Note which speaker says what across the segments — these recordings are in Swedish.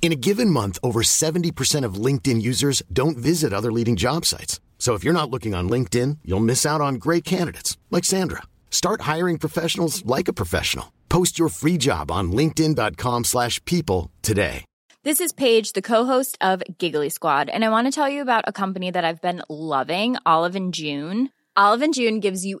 Speaker 1: In a given month, over 70% of LinkedIn users don't visit other leading job sites. So if you're not looking on LinkedIn, you'll miss out on great candidates like Sandra. Start hiring professionals like a professional. Post your free job on linkedin.com/people slash people today.
Speaker 2: This is Paige, the co-host of Giggly Squad, and I want to tell you about a company that I've been loving, Olive and June. Olive and June gives you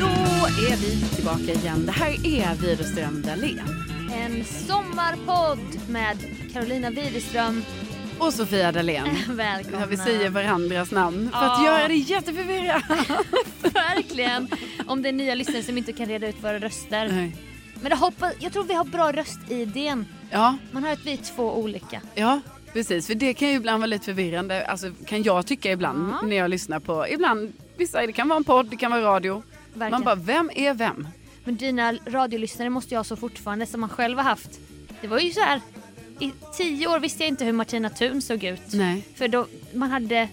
Speaker 3: Då är vi tillbaka igen. Det här är Widerström Dahlén.
Speaker 4: En sommarpodd med Carolina Widerström.
Speaker 3: Och Sofia Dalén.
Speaker 4: Välkomna.
Speaker 3: Ja, vi säger varandras namn för att
Speaker 4: Ja.
Speaker 3: göra det jätteförvirrat.
Speaker 4: Verkligen. Om det är nya lyssnare som inte kan reda ut våra röster.
Speaker 3: Nej.
Speaker 4: Men det hoppas, jag tror vi har bra röstidén.
Speaker 3: ja,
Speaker 4: Man hör att vi är två olika.
Speaker 3: ja, precis. För det kan ju ibland vara lite förvirrande. Alltså kan jag tycka ibland när jag lyssnar på, ibland, vissa, det kan vara en podd, det kan vara radio. Man
Speaker 4: Verkligen.
Speaker 3: bara, vem är vem?
Speaker 4: Men dina radiolyssnare måste jag ha så fortfarande som man själv har haft. Det var ju så här. I tio år visste jag inte hur Martina Thun såg ut.
Speaker 3: Nej.
Speaker 4: För då man hade...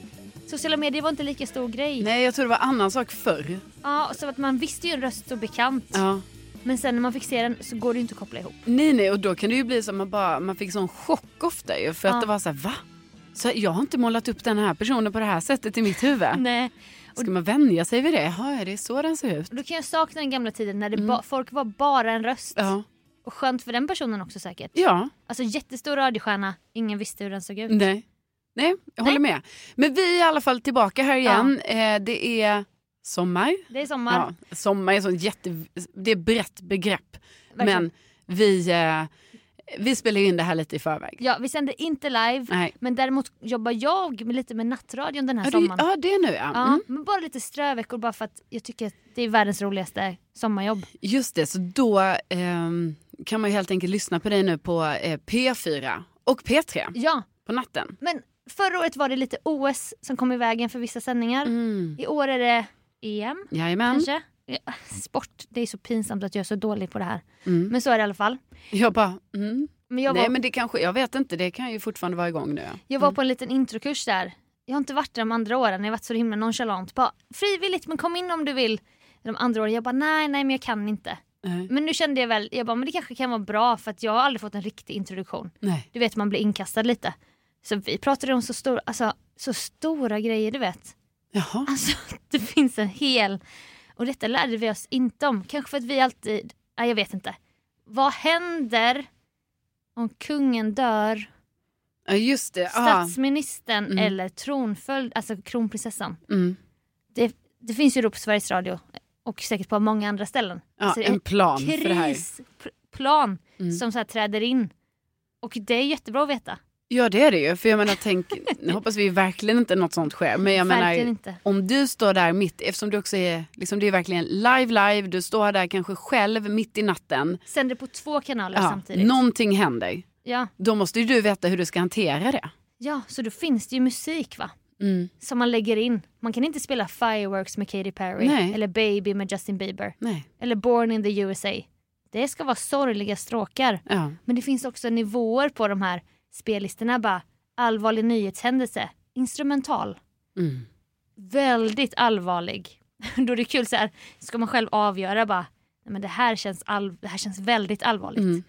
Speaker 4: Sociala medier var inte lika stor grej.
Speaker 3: Nej, jag tror det var annan sak förr.
Speaker 4: Ja, så att man visste ju en röst så bekant.
Speaker 3: Ja.
Speaker 4: Men sen när man fick se den så går det ju inte att koppla ihop.
Speaker 3: Nej, nej, och då kan det ju bli som man bara, man fick sån chock ofta ju. För att
Speaker 4: Ja.
Speaker 3: det var så här, va? Så jag har inte målat upp den här personen på det här sättet i mitt huvud.
Speaker 4: Nej.
Speaker 3: Ska man vänja sig vid det? Jaha, är det så den ser ut?
Speaker 4: Och då kan jag sakna den gamla tiden när det ba- folk var bara en röst.
Speaker 3: Mm. Ja.
Speaker 4: Och skönt för den personen också säkert.
Speaker 3: Ja,
Speaker 4: Alltså jättestor radiostjärna, ingen visste hur den såg ut.
Speaker 3: nej. Nej, jag håller med. Men vi är i alla fall tillbaka här igen. Eh, det är sommar.
Speaker 4: Det är sommar.
Speaker 3: Ja, sommar är sånt jätte... Det är brett begrepp.
Speaker 4: Verkligen.
Speaker 3: Men vi, eh, vi spelar ju in det här lite i förväg.
Speaker 4: Ja, vi sänder inte live.
Speaker 3: Nej.
Speaker 4: Men däremot jobbar jag med- lite med nattradion den här
Speaker 3: Ja, det,
Speaker 4: sommaren.
Speaker 3: ja, det är nu ja. Mm.
Speaker 4: Ja, men bara lite ströveckor bara för att jag tycker att det är världens roligaste sommarjobb.
Speaker 3: Just det, så då ehm, kan man ju helt enkelt lyssna på dig nu på eh, P4 och P3
Speaker 4: Ja,
Speaker 3: på natten.
Speaker 4: men förra året var det lite OS som kom i vägen för vissa sändningar.
Speaker 3: Mm.
Speaker 4: I år är det EM.
Speaker 3: Jajamän.
Speaker 4: kanske. Ja, Sport, det är så pinsamt att jag är så dålig på det här.
Speaker 3: Mm.
Speaker 4: Men så är det i alla fall.
Speaker 3: Jag bara, mm.
Speaker 4: Men jag var,
Speaker 3: Nej men det kanske, jag vet inte, det kan ju fortfarande vara igång nu. ja.
Speaker 4: jag var på en liten introkurs där. Jag har inte varit där de andra åren, jag har varit så himla nonchalant. Bara, frivilligt men kom in om du vill. De andra åren, jag bara nej, nej men jag kan inte.
Speaker 3: Nej.
Speaker 4: Men nu kände jag väl, jag bara men det kanske kan vara bra för att jag har aldrig fått en riktig introduktion.
Speaker 3: Nej.
Speaker 4: Du vet man blir inkastad lite. Så vi pratade om så, stor, alltså, så stora grejer du vet.
Speaker 3: Jaha.
Speaker 4: Alltså det finns en hel... Och detta lärde vi oss inte om. Kanske för att vi alltid... Nej, jag vet inte. Vad händer om kungen dör,
Speaker 3: Ja just det. Ah. Ja.
Speaker 4: statsministern
Speaker 3: Mm.
Speaker 4: eller tronföljd, alltså kronprinsessan?
Speaker 3: Mm.
Speaker 4: Det, det finns ju rop på Sveriges Radio och säkert på många andra ställen.
Speaker 3: Ja,
Speaker 4: Så det är
Speaker 3: en plan för det här.
Speaker 4: krisplan
Speaker 3: Mm.
Speaker 4: som så här träder in. Och det är jättebra att veta.
Speaker 3: Ja det är det ju, för jag menar tänk, nu hoppas vi verkligen inte något sånt sker. Men jag
Speaker 4: Verkligen
Speaker 3: menar,
Speaker 4: inte.
Speaker 3: om du står där mitt, eftersom du också är, liksom det är verkligen live live, du står där kanske själv mitt i natten.
Speaker 4: Sänder på två kanaler
Speaker 3: Ja,
Speaker 4: samtidigt.
Speaker 3: någonting händer.
Speaker 4: Ja.
Speaker 3: Då måste ju du veta hur du ska hantera det.
Speaker 4: ja, så då finns det ju musik va? som man lägger in. Man kan inte spela Fireworks med Katy Perry
Speaker 3: Nej.
Speaker 4: eller Baby med Justin Bieber
Speaker 3: Nej.
Speaker 4: eller Born in the USA. Det ska vara sorgliga stråkar.
Speaker 3: Ja.
Speaker 4: Men det finns också nivåer på de här spellistorna. Bara allvarlig nyhetshändelse, instrumental.
Speaker 3: Mm.
Speaker 4: Väldigt allvarlig. Då är det kul så här, ska man själv avgöra bara, "Nej, "Nej, men det här känns, all, det här känns väldigt allvarligt.
Speaker 3: Mm.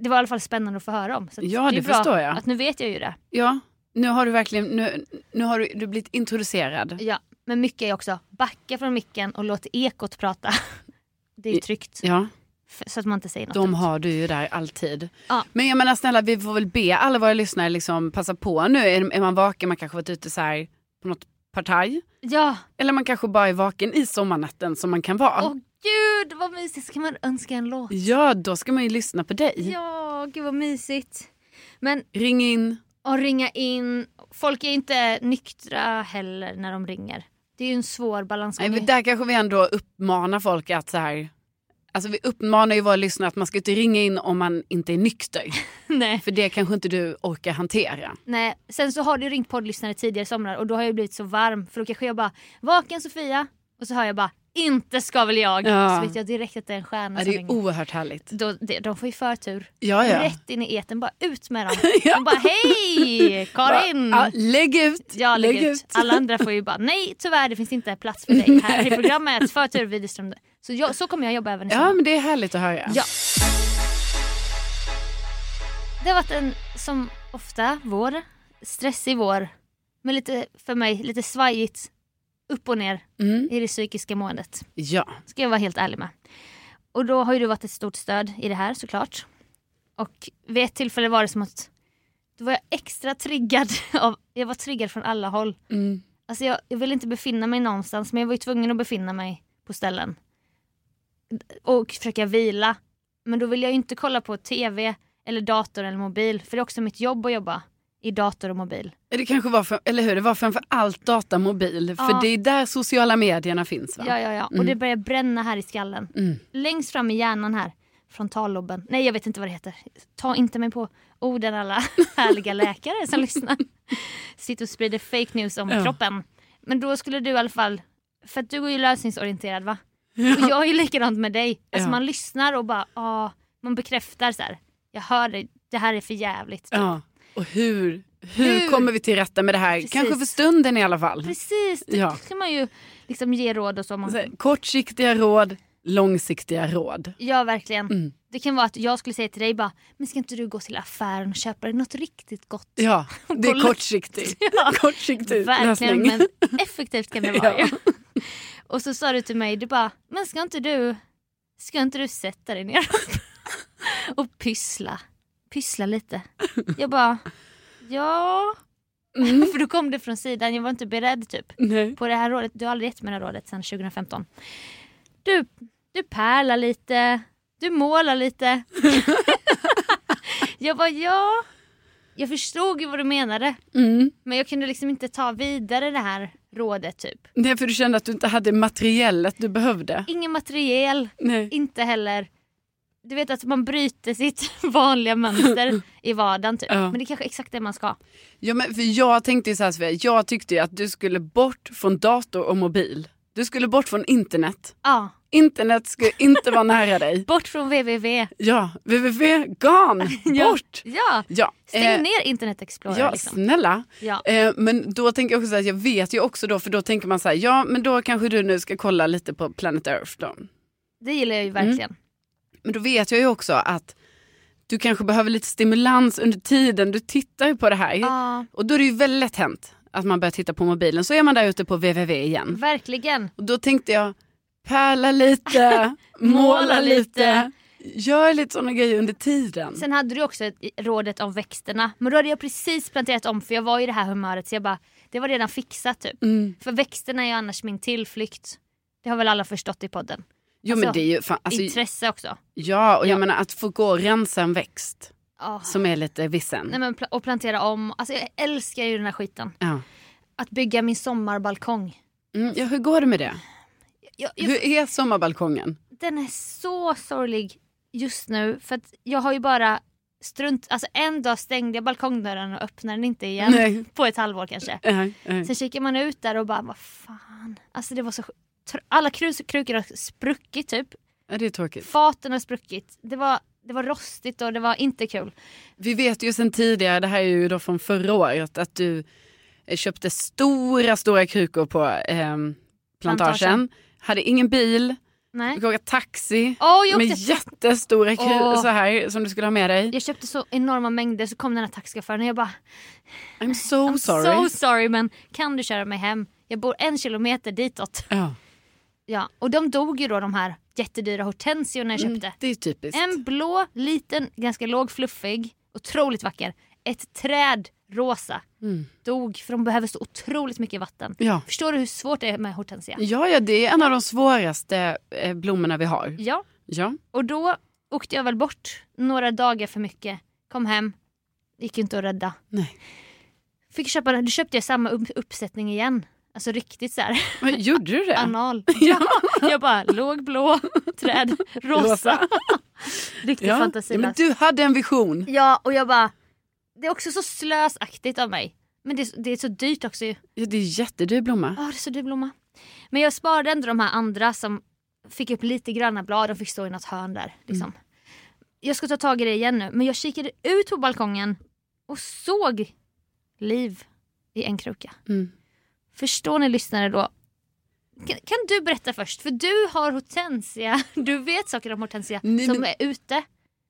Speaker 4: Det var i alla fall spännande att få höra om. Så att
Speaker 3: Ja,
Speaker 4: är
Speaker 3: det
Speaker 4: bra
Speaker 3: förstår jag.
Speaker 4: Att nu vet jag ju det.
Speaker 3: Ja, nu har du verkligen nu, nu har du, du blivit introducerad.
Speaker 4: Ja, men mycket är också backa från micken och låt ekot prata. Det är ju tryggt.
Speaker 3: Ja,
Speaker 4: F- Så att man inte säger något.
Speaker 3: de
Speaker 4: dumt.
Speaker 3: har du ju där alltid.
Speaker 4: Ja.
Speaker 3: Men jag menar snälla, vi får väl be alla våra lyssnare liksom passa på nu. Är, är man vaken, man kanske varit ute så här på något partaj.
Speaker 4: Ja,
Speaker 3: Eller man kanske bara är vaken i sommarnatten som man kan vara.
Speaker 4: åh gud vad mysigt. Ska man önska en låt?
Speaker 3: Ja, då ska man ju lyssna på dig.
Speaker 4: Ja, gud vad mysigt. Men
Speaker 3: Ring in.
Speaker 4: att ringa in, folk är inte nyktra heller när de ringer. Det är ju en svår balansgång.
Speaker 3: Nej, men där kanske vi ändå uppmanar folk att så här... Alltså vi uppmanar ju våra lyssnare att man ska inte ringa in om man inte är nykter.
Speaker 4: Nej.
Speaker 3: För det kanske inte du orkar hantera.
Speaker 4: Nej. Sen så har du ringt poddlyssnare tidigare i somrar och då har jag blivit så varm för då kanske jag bara “Vaken Sofia” och så hör jag bara “Inte ska väl jag”
Speaker 3: Ja.
Speaker 4: så vet jag direkt att det är en stjärna
Speaker 3: Ja,
Speaker 4: som
Speaker 3: det är ju
Speaker 4: ringer.
Speaker 3: oerhört härligt.
Speaker 4: Då, det, de får ju förtur.
Speaker 3: Ja, ja.
Speaker 4: Rätt in i eten, bara ut med dem.
Speaker 3: Ja.
Speaker 4: De bara hej Karin!
Speaker 3: Ja, lägg ut!
Speaker 4: Ja, lägg ut. Alla andra får ju bara nej tyvärr det finns inte plats för dig här i programmet. Förtur Widerström. Så, jag, så kommer jag jobba även i
Speaker 3: Ja,
Speaker 4: sommar.
Speaker 3: men det är härligt att höra.
Speaker 4: Ja. Det har varit en, som ofta, vår. Stressig vår. Men lite, för mig, lite svajigt. Upp och ner
Speaker 3: Mm.
Speaker 4: i det psykiska måendet.
Speaker 3: ja.
Speaker 4: Ska jag vara helt ärlig med. Och då har ju du varit ett stort stöd i det här såklart. Och vid ett tillfälle var det som att då var jag extra triggad av, jag var triggad från alla håll.
Speaker 3: Mm.
Speaker 4: Alltså jag, jag ville inte befinna mig någonstans men jag var ju tvungen att befinna mig på ställen. Och försöka vila. Men då vill jag ju inte kolla på tv eller dator eller mobil för det är också mitt jobb att jobba i dator och mobil.
Speaker 3: Det kanske var, för, eller hur, det var framför allt datamobil.
Speaker 4: Ja.
Speaker 3: För det är där sociala medierna finns va?
Speaker 4: Ja, ja, ja. Och det börjar bränna här i skallen.
Speaker 3: Mm.
Speaker 4: Längst fram i hjärnan här. Frontallobben. Nej, jag vet inte vad det heter. Ta inte mig på orden alla härliga läkare som lyssnar. Sitter och sprider fake news om
Speaker 3: Ja.
Speaker 4: kroppen. Men då skulle du i alla fall, för att du är ju lösningsorienterad va? Och jag är ju likadant med dig. Alltså
Speaker 3: Ja.
Speaker 4: man lyssnar och bara, ah, man bekräftar så här. Jag hör dig, det här är för jävligt.
Speaker 3: Ja. Och hur, hur,
Speaker 4: Hur?
Speaker 3: kommer vi till rätta med det här?
Speaker 4: Precis.
Speaker 3: Kanske för stunden i alla fall.
Speaker 4: Precis, det
Speaker 3: Ja.
Speaker 4: kan man ju liksom ge råd och så. Man,
Speaker 3: Så här, kortsiktiga råd, långsiktiga råd.
Speaker 4: Ja verkligen.
Speaker 3: Mm.
Speaker 4: Det kan vara att jag skulle säga till dig bara, men ska inte du gå till affären och köpa dig något riktigt gott?
Speaker 3: Ja, det är
Speaker 4: Kolla-
Speaker 3: kortsiktigt.
Speaker 4: Ja.
Speaker 3: Kortsiktig
Speaker 4: verkligen,
Speaker 3: Typ, lösning.
Speaker 4: men effektivt kan det vara
Speaker 3: Ja.
Speaker 4: ju. Och så sa du till mig, du bara, men ska inte du, ska inte du sätta dig ner och pyssla? Pyssla lite. Jag bara, ja.
Speaker 3: Mm.
Speaker 4: För då kom det från sidan, jag var inte beredd typ
Speaker 3: Nej.
Speaker 4: på det här rådet. Du har aldrig gett mig det här rådet sedan 2015. Du, du pärlar lite, du målar lite. jag bara ja, jag förstod ju vad du menade.
Speaker 3: Mm.
Speaker 4: Men jag kunde liksom inte ta vidare det här rådet typ.
Speaker 3: Nej, för du kände att du inte hade materiellet du behövde.
Speaker 4: Ingen materiel,
Speaker 3: Nej.
Speaker 4: inte heller du vet att man bryter sitt vanliga mönster i vardagen typ.
Speaker 3: Ja.
Speaker 4: Men det är kanske är exakt det man ska.
Speaker 3: Ja, men för jag tänkte ju så här, Sofia, jag tyckte ju att du skulle bort från dator och mobil. Du skulle bort från internet.
Speaker 4: Ja,
Speaker 3: Internet skulle inte vara nära dig.
Speaker 4: bort från www.
Speaker 3: Ja, www, gone,
Speaker 4: Ja.
Speaker 3: bort.
Speaker 4: Ja,
Speaker 3: Ja,
Speaker 4: stäng
Speaker 3: eh,
Speaker 4: ner internet explorer
Speaker 3: ja
Speaker 4: liksom.
Speaker 3: snälla.
Speaker 4: Ja.
Speaker 3: Eh, men då tänker jag också så här, jag vet ju också då, för då tänker man så här, ja men då kanske du nu ska kolla lite på Planet Earth då.
Speaker 4: Det gillar jag ju
Speaker 3: mm.
Speaker 4: verkligen.
Speaker 3: Men då vet jag ju också att du kanske behöver lite stimulans under tiden du tittar på det här.
Speaker 4: Ja,
Speaker 3: Och då är det ju väldigt lätt hänt att man börjar titta på mobilen, så är man där ute på www igen.
Speaker 4: verkligen.
Speaker 3: Och då tänkte jag, pärla lite, måla
Speaker 4: Måla
Speaker 3: lite,
Speaker 4: lite.
Speaker 3: gör lite sådana grejer under tiden.
Speaker 4: Sen hade du också ett, rådet om växterna. Men då hade jag precis planterat om för jag var i det här humöret så jag bara, det var redan fixat typ.
Speaker 3: Mm.
Speaker 4: För växterna är ju annars min tillflykt. Det har väl alla förstått i podden.
Speaker 3: Jo men
Speaker 4: Alltså,
Speaker 3: det är ju fan, alltså,
Speaker 4: Intresse också.
Speaker 3: ja och jag
Speaker 4: Ja.
Speaker 3: menar att få gå och rensa en växt
Speaker 4: Ja.
Speaker 3: som är lite vissen.
Speaker 4: Nej, men pla- och plantera om. Alltså jag älskar ju den här skiten.
Speaker 3: Ja.
Speaker 4: Att bygga min sommarbalkong.
Speaker 3: Mm, ja, hur går det med det?
Speaker 4: Jag, jag,
Speaker 3: Hur är sommarbalkongen?
Speaker 4: Den är så sorglig just nu för att jag har ju bara strunt... Alltså en dag stängde jag balkongdörren och öppnade den inte igen.
Speaker 3: Nej.
Speaker 4: På ett halvår kanske.
Speaker 3: Nej, nej.
Speaker 4: Sen kikar man ut där och bara, vad fan. Alltså det var så... tr- Alla krus- krukor har spruckit typ.
Speaker 3: Ja, det är tråkigt.
Speaker 4: Faten har spruckit. Det var, det var rostigt och det var inte kul.
Speaker 3: Vi vet ju sedan tidigare, det här är ju då från förra året, att du eh, köpte stora, stora krukor på ehm, plantagen.
Speaker 4: Plantagen.
Speaker 3: Hade ingen bil,
Speaker 4: Nej.
Speaker 3: Du kan åka taxi
Speaker 4: Åh, jag åkte
Speaker 3: med jättestora kru-
Speaker 4: Åh.
Speaker 3: så här som du skulle ha med dig.
Speaker 4: Jag köpte så enorma mängder så kom den här taxichauffören och jag bara
Speaker 3: I'm so
Speaker 4: I'm
Speaker 3: Oh, sorry.
Speaker 4: so sorry men kan du köra mig hem? Jag bor en kilometer ditåt.
Speaker 3: Ja,
Speaker 4: Ja, och de dog ju då de här jättedyra hortensiorna jag köpte.
Speaker 3: det är typiskt.
Speaker 4: En blå, liten, ganska låg, fluffig, otroligt vacker. Ett träd, rosa, dog för de behöver så otroligt mycket vatten.
Speaker 3: Mm. Ja.
Speaker 4: Förstår du hur svårt det är med hortensia?
Speaker 3: Ja, ja, det är en av de svåraste eh, blommorna vi har.
Speaker 4: Ja,
Speaker 3: Ja.
Speaker 4: och då åkte jag väl bort några dagar för mycket. Kom hem, gick ju inte att rädda.
Speaker 3: Nej.
Speaker 4: Fick köpa, då köpte jag samma upp- uppsättning igen. Alltså riktigt så här.
Speaker 3: Men, gjorde du det?
Speaker 4: anal.
Speaker 3: Ja.
Speaker 4: Jag bara låg blå, träd, rosa. Riktigt
Speaker 3: Ja. Ja, men
Speaker 4: fantasilöst.
Speaker 3: du hade en vision.
Speaker 4: Ja och jag bara, det är också så slösaktigt av mig. Men det, är- det är så dyrt också ju.
Speaker 3: Ja, det är en jättedyr blomma.
Speaker 4: Ja det är så dyr blomma. Men jag sparade ändå de här andra som fick upp lite gröna blad, de fick stå i något hörn där. Liksom.
Speaker 3: Mm.
Speaker 4: Jag ska ta tag i det igen nu men jag kikade ut på balkongen och såg liv i en kruka.
Speaker 3: Mm.
Speaker 4: Förstår ni lyssnare då? Kan, kan du berätta först? För du har hortensia, du vet saker om hortensia
Speaker 3: Nej,
Speaker 4: som
Speaker 3: men-
Speaker 4: är ute.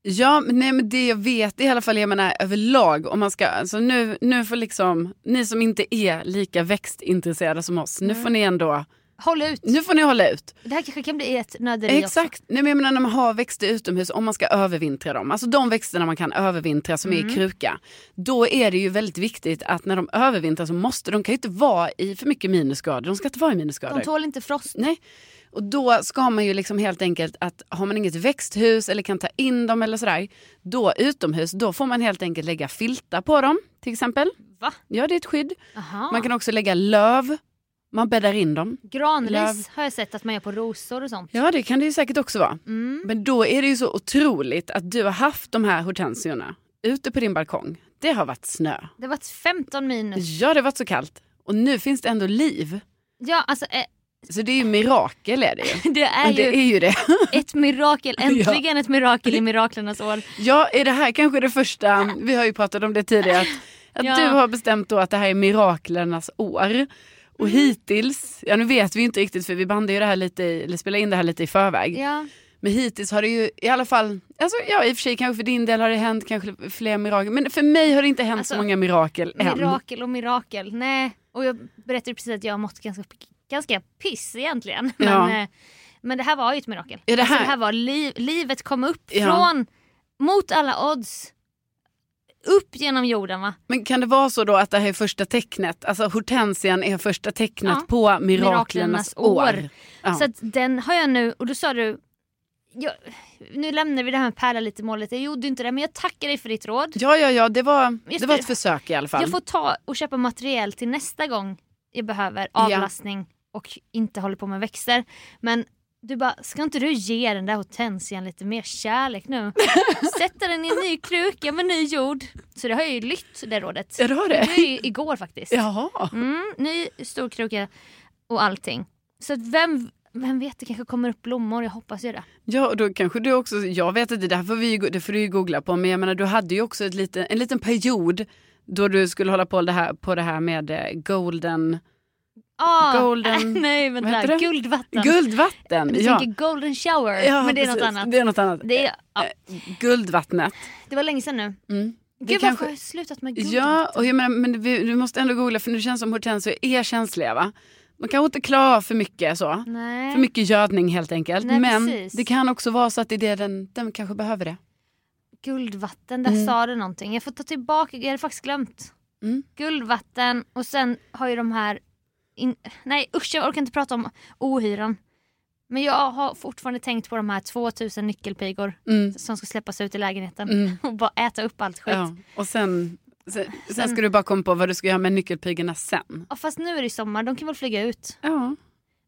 Speaker 3: Ja, men, nej, men det jag vet i alla fall, jag menar överlag, om man ska, alltså nu, nu får liksom, ni som inte är lika växtintresserade som oss,
Speaker 4: Mm.
Speaker 3: nu får ni ändå,
Speaker 4: Håll ut!
Speaker 3: nu får ni hålla ut.
Speaker 4: Det här kanske kan bli ett nöderi också.
Speaker 3: Exakt, nej, men jag menar när man har växter utomhus, om man ska övervintra dem, alltså de växterna man kan övervintra som
Speaker 4: Mm.
Speaker 3: är i kruka, då är det ju väldigt viktigt att när de övervintrar så måste de, kan ju inte vara i för mycket minusgrader, de ska inte vara i minusgrader.
Speaker 4: De tål inte frost.
Speaker 3: Nej. Och då ska man ju liksom helt enkelt att har man inget växthus eller kan ta in dem eller sådär, då utomhus, då får man helt enkelt lägga filtar på dem till exempel.
Speaker 4: Va?
Speaker 3: Ja, det är ett skydd.
Speaker 4: Aha.
Speaker 3: Man kan också lägga löv. Man bäddar in dem.
Speaker 4: Granris
Speaker 3: Löv.
Speaker 4: har jag sett att man gör på rosor och sånt.
Speaker 3: Ja, det kan det ju säkert också vara.
Speaker 4: Mm.
Speaker 3: Men då är det ju så otroligt att du har haft de här hortensiorna ute på din balkong. Det har varit snö.
Speaker 4: Det var 15 minus.
Speaker 3: Ja, det har varit så kallt. Och nu finns det ändå liv.
Speaker 4: Ja, alltså eh,
Speaker 3: Så det är ju mirakel är det ju.
Speaker 4: det är
Speaker 3: Men
Speaker 4: ju
Speaker 3: det är ju det.
Speaker 4: ett mirakel. Äntligen ett mirakel i miraklernas år.
Speaker 3: Ja, är det här kanske det första, vi har ju pratat om det tidigare, att, att
Speaker 4: Ja.
Speaker 3: du har bestämt då att det här är miraklernas år. Och
Speaker 4: Mm.
Speaker 3: hittills, ja nu vet vi ju inte riktigt för vi bandade ju det här lite, i- eller spelade in det här lite i förväg.
Speaker 4: Ja.
Speaker 3: Men hittills har det ju i alla fall, alltså ja i och för sig kanske för din del har det hänt kanske fler mirakel. Men för mig har det inte hänt
Speaker 4: Alltså,
Speaker 3: så många mirakel än.
Speaker 4: Mirakel och mirakel. Nej. Och jag berättade precis att jag har mått ganska, ganska piss egentligen. Men,
Speaker 3: Ja.
Speaker 4: eh, men det här var ju ett mirakel.
Speaker 3: Ja, det
Speaker 4: Alltså,
Speaker 3: här-
Speaker 4: det här var li- livet kom upp
Speaker 3: Ja.
Speaker 4: från, mot alla odds, upp genom jorden va?
Speaker 3: Men kan det vara så då att det här är första tecknet, alltså hortensian är första tecknet
Speaker 4: Ja.
Speaker 3: på miraklernas,
Speaker 4: Miraklernas år.
Speaker 3: år. Ja.
Speaker 4: Så att den har jag nu, och då sa du, jag, nu lämnar vi det här med Pärla lite i målet. Jag gjorde inte det men jag tackar dig för ditt råd.
Speaker 3: ja, ja, ja, det var,
Speaker 4: Just
Speaker 3: det var
Speaker 4: det.
Speaker 3: ett försök i alla fall.
Speaker 4: Jag får ta och köpa material till nästa gång jag behöver
Speaker 3: Ja.
Speaker 4: avlastning och inte håller på med växter. Men du bara, ska inte du ge den där hortensian lite mer kärlek nu? Sätta den i en ny kruka med ny jord. Så det har jag ju lytt det rådet.
Speaker 3: Ja, det har det.
Speaker 4: Det var ju igår faktiskt.
Speaker 3: Jaha.
Speaker 4: Mm, ny stor kruka och allting. Så att vem, vem vet, det kanske kommer upp blommor, jag hoppas ju det.
Speaker 3: Ja, och då kanske du också, jag vet inte, det, här får vi, ju go- det får du ju googla på, men jag menar du hade ju också ett liten, en liten period då du skulle hålla på det här, på det här med eh, golden,
Speaker 4: Ah,
Speaker 3: Golden-
Speaker 4: nej
Speaker 3: vad heter
Speaker 4: vänta,
Speaker 3: det?
Speaker 4: guldvatten.
Speaker 3: guldvatten.
Speaker 4: du
Speaker 3: ja.
Speaker 4: tänker golden shower,
Speaker 3: Ja,
Speaker 4: men det är något
Speaker 3: precis.
Speaker 4: annat.
Speaker 3: Det är något annat.
Speaker 4: Det är, ja,
Speaker 3: Guldvattnet.
Speaker 4: det var länge sedan nu.
Speaker 3: Mm. Det
Speaker 4: Gud varför
Speaker 3: kanske-
Speaker 4: har jag slutat med guld?
Speaker 3: Ja, och jag menar, men vi, du måste ändå googla för nu känns det som hortensior är känsliga va? Man kanske inte klarar av för mycket så.
Speaker 4: Nej.
Speaker 3: För mycket gödning helt enkelt.
Speaker 4: Nej,
Speaker 3: men
Speaker 4: precis.
Speaker 3: det kan också vara så att det är det den, den kanske behöver det.
Speaker 4: Guldvatten, där sa du någonting. Jag får ta tillbaka, jag hade faktiskt glömt.
Speaker 3: Mm.
Speaker 4: Guldvatten och sen har ju de här... In... Nej usch jag orkar inte prata om ohyran. Men jag har fortfarande tänkt på de här 2000 nyckelpigor
Speaker 3: Mm.
Speaker 4: som ska släppas ut i lägenheten
Speaker 3: Mm.
Speaker 4: och bara äta upp allt skit. Mm. Ja.
Speaker 3: Ja, och sen, sen, sen ska du bara komma på vad du ska göra med nyckelpigorna sen.
Speaker 4: fast nu är det ju sommar, de kan väl flyga ut.
Speaker 3: Ja.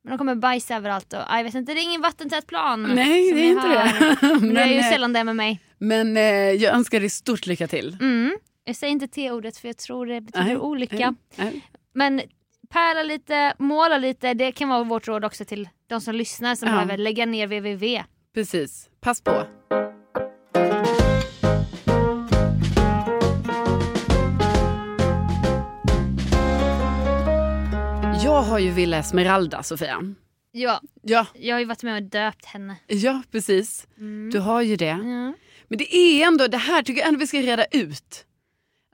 Speaker 4: Men de kommer bajsa överallt och ah, jag vet inte, det är ingen vattentät plan.
Speaker 3: Nej,
Speaker 4: som
Speaker 3: det är
Speaker 4: jag
Speaker 3: inte det.
Speaker 4: Men det är ju
Speaker 3: eh,
Speaker 4: sällan det med mig.
Speaker 3: men eh, jag önskar dig stort lycka till.
Speaker 4: Mm. Jag säger inte T-ordet för jag tror det betyder
Speaker 3: Nej,
Speaker 4: olycka.
Speaker 3: Eh, eh,
Speaker 4: Men pärla lite, måla lite. Det kan vara vårt råd också till de som lyssnar som
Speaker 3: Ja.
Speaker 4: behöver lägga ner www.
Speaker 3: Precis, pass på. Jag har ju Villa Esmeralda, Sofia.
Speaker 4: Ja,
Speaker 3: Ja,
Speaker 4: jag har ju varit med och döpt henne.
Speaker 3: ja precis.
Speaker 4: Mm.
Speaker 3: Du har ju det.
Speaker 4: Ja.
Speaker 3: Men det är ändå, det här tycker jag ändå vi ska reda ut.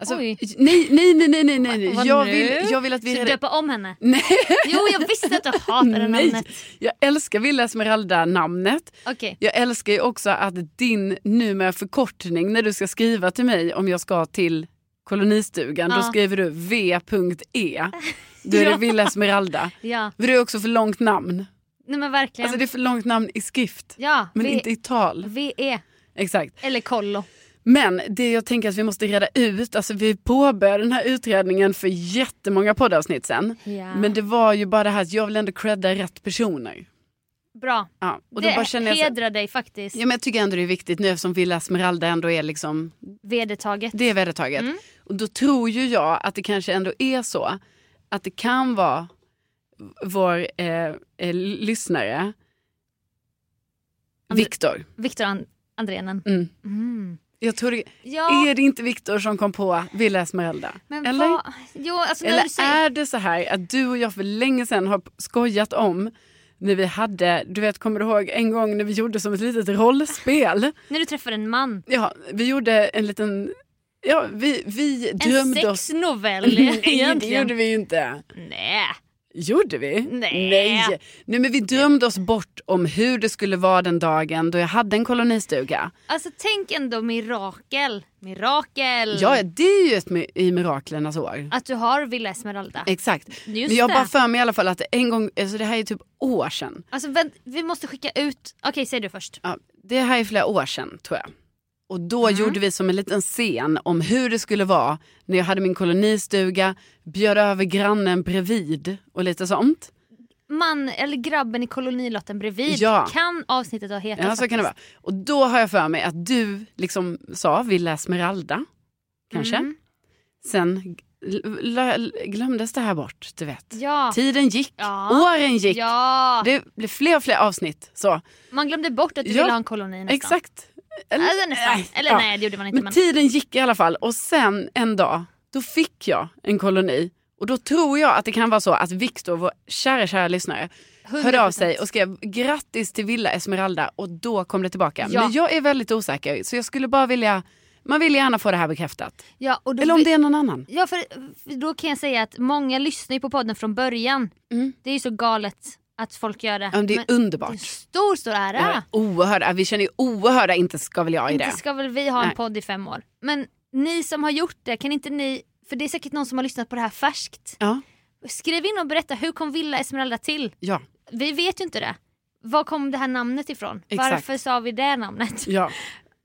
Speaker 3: Alltså,
Speaker 4: Oj.
Speaker 3: nej, nej, nej, nej, nej, nej.
Speaker 4: Vad
Speaker 3: Jag
Speaker 4: nu?
Speaker 3: vill, jag vill att vi
Speaker 4: Ska
Speaker 3: reda
Speaker 4: döpa om henne?
Speaker 3: Nej,
Speaker 4: Jo, jag visste att du hatade det
Speaker 3: nej.
Speaker 4: namnet.
Speaker 3: Jag älskar Villa Esmeralda-namnet.
Speaker 4: Okej.
Speaker 3: Jag älskar ju också att din numera förkortning när du ska skriva till mig om jag ska till kolonistugan, då
Speaker 4: Ja.
Speaker 3: skriver du V.E. Då är det
Speaker 4: Ja.
Speaker 3: Villa Esmeralda.
Speaker 4: Ja,
Speaker 3: För det är också för långt namn.
Speaker 4: nej men verkligen.
Speaker 3: Alltså det är för långt namn i skrift.
Speaker 4: ja,
Speaker 3: Men
Speaker 4: v-
Speaker 3: inte i tal.
Speaker 4: VE
Speaker 3: Exakt.
Speaker 4: eller kollo.
Speaker 3: Men det jag tänker att vi måste reda ut, alltså vi påbörjade den här utredningen för jättemånga poddavsnitt sen.
Speaker 4: Ja.
Speaker 3: Men det var ju bara det här att jag vill ändå credda rätt personer.
Speaker 4: Bra.
Speaker 3: Ja, och då
Speaker 4: det
Speaker 3: bara känner jag, så,
Speaker 4: hedrar dig faktiskt.
Speaker 3: ja, men jag tycker ändå det är viktigt nu eftersom Villa Esmeralda ändå är liksom,
Speaker 4: Vedertaget.
Speaker 3: det är vedertaget.
Speaker 4: Mm.
Speaker 3: Och då tror ju jag att det kanske ändå är så att det kan vara vår eh, eh, lyssnare Viktor.
Speaker 4: Viktor An- Andrenen.
Speaker 3: Mm.
Speaker 4: Mm.
Speaker 3: Jag tror det,
Speaker 4: Ja.
Speaker 3: Är det inte Viktor som kom på Villa Esmeralda?
Speaker 4: Men
Speaker 3: Eller?
Speaker 4: vad... Jo, alltså när
Speaker 3: Eller
Speaker 4: du säger...
Speaker 3: är det så här att du och jag för länge sedan har skojat om när vi hade, du vet kommer du ihåg en gång när vi gjorde som ett litet rollspel?
Speaker 4: När du träffar en man.
Speaker 3: Ja, vi gjorde en liten, ja vi, vi
Speaker 4: En
Speaker 3: drömde oss...
Speaker 4: sexnovell
Speaker 3: Nej, det
Speaker 4: egentligen.
Speaker 3: gjorde vi ju inte.
Speaker 4: Nej.
Speaker 3: Gjorde vi?
Speaker 4: Nej.
Speaker 3: Nej. Nej men vi drömde oss bort om hur det skulle vara den dagen då jag hade en kolonistuga.
Speaker 4: Alltså tänk ändå mirakel. Mirakel.
Speaker 3: Ja, det är ju ett mi- i miraklernas år.
Speaker 4: Att du har Villa Esmeralda.
Speaker 3: Exakt.
Speaker 4: Just
Speaker 3: men jag har
Speaker 4: det.
Speaker 3: bara för mig i alla fall att en gång, alltså det här är typ år sedan.
Speaker 4: Alltså vänt, vi måste skicka ut... Okej, säg du först.
Speaker 3: Ja, det här är flera år sedan tror jag. Och då
Speaker 4: Mm.
Speaker 3: gjorde vi som en liten scen om hur det skulle vara när jag hade min kolonistuga, bjöd över grannen bredvid och lite sånt.
Speaker 4: Man, eller grabben i kolonilotten bredvid
Speaker 3: Ja.
Speaker 4: kan avsnittet ha hetat
Speaker 3: Ja, så kan det vara.
Speaker 4: faktiskt.
Speaker 3: Och då har jag för mig att du liksom sa Villa Esmeralda, kanske.
Speaker 4: Mm.
Speaker 3: Sen gl- l- glömdes det här bort, du vet.
Speaker 4: Ja.
Speaker 3: Tiden gick,
Speaker 4: Ja.
Speaker 3: åren gick.
Speaker 4: Ja,
Speaker 3: Det blev fler och fler avsnitt. Så.
Speaker 4: man glömde bort att du
Speaker 3: Ja,
Speaker 4: ville ha en koloni nästan.
Speaker 3: Exakt.
Speaker 4: Eller nästan. Eller nej, det gjorde man inte,
Speaker 3: Men,
Speaker 4: men-
Speaker 3: tiden gick i alla fall och sen en dag, då fick jag en koloni. Och då tror jag att det kan vara så att Viktor, vår kära, kära lyssnare, hörde av
Speaker 4: 100%.
Speaker 3: sig och skrev grattis till Villa Esmeralda och då kom det tillbaka.
Speaker 4: Ja.
Speaker 3: Men jag är väldigt osäker så jag skulle bara vilja, man vill gärna få det här bekräftat.
Speaker 4: Ja, och då
Speaker 3: Eller om
Speaker 4: vi-
Speaker 3: det är någon annan.
Speaker 4: Ja, för för då kan jag säga att många lyssnar ju på podden från början. Det är ju så galet att folk gör det.
Speaker 3: Mm. Ja, men det är underbart.
Speaker 4: Det är en stor, stor ära.
Speaker 3: Ja, Oerhörda, vi känner ju oerhörda inte ska väl jag i det.
Speaker 4: Inte ska väl vi ha en
Speaker 3: Nej.
Speaker 4: podd i fem år. Men ni som har gjort det, kan inte ni, för det är säkert någon som har lyssnat på det här färskt.
Speaker 3: Ja,
Speaker 4: Skriv in och berätta, hur kom Villa Esmeralda till?
Speaker 3: ja,
Speaker 4: Vi vet ju inte det. Var kom det här namnet ifrån?
Speaker 3: Exakt.
Speaker 4: Varför sa vi det namnet?
Speaker 3: ja.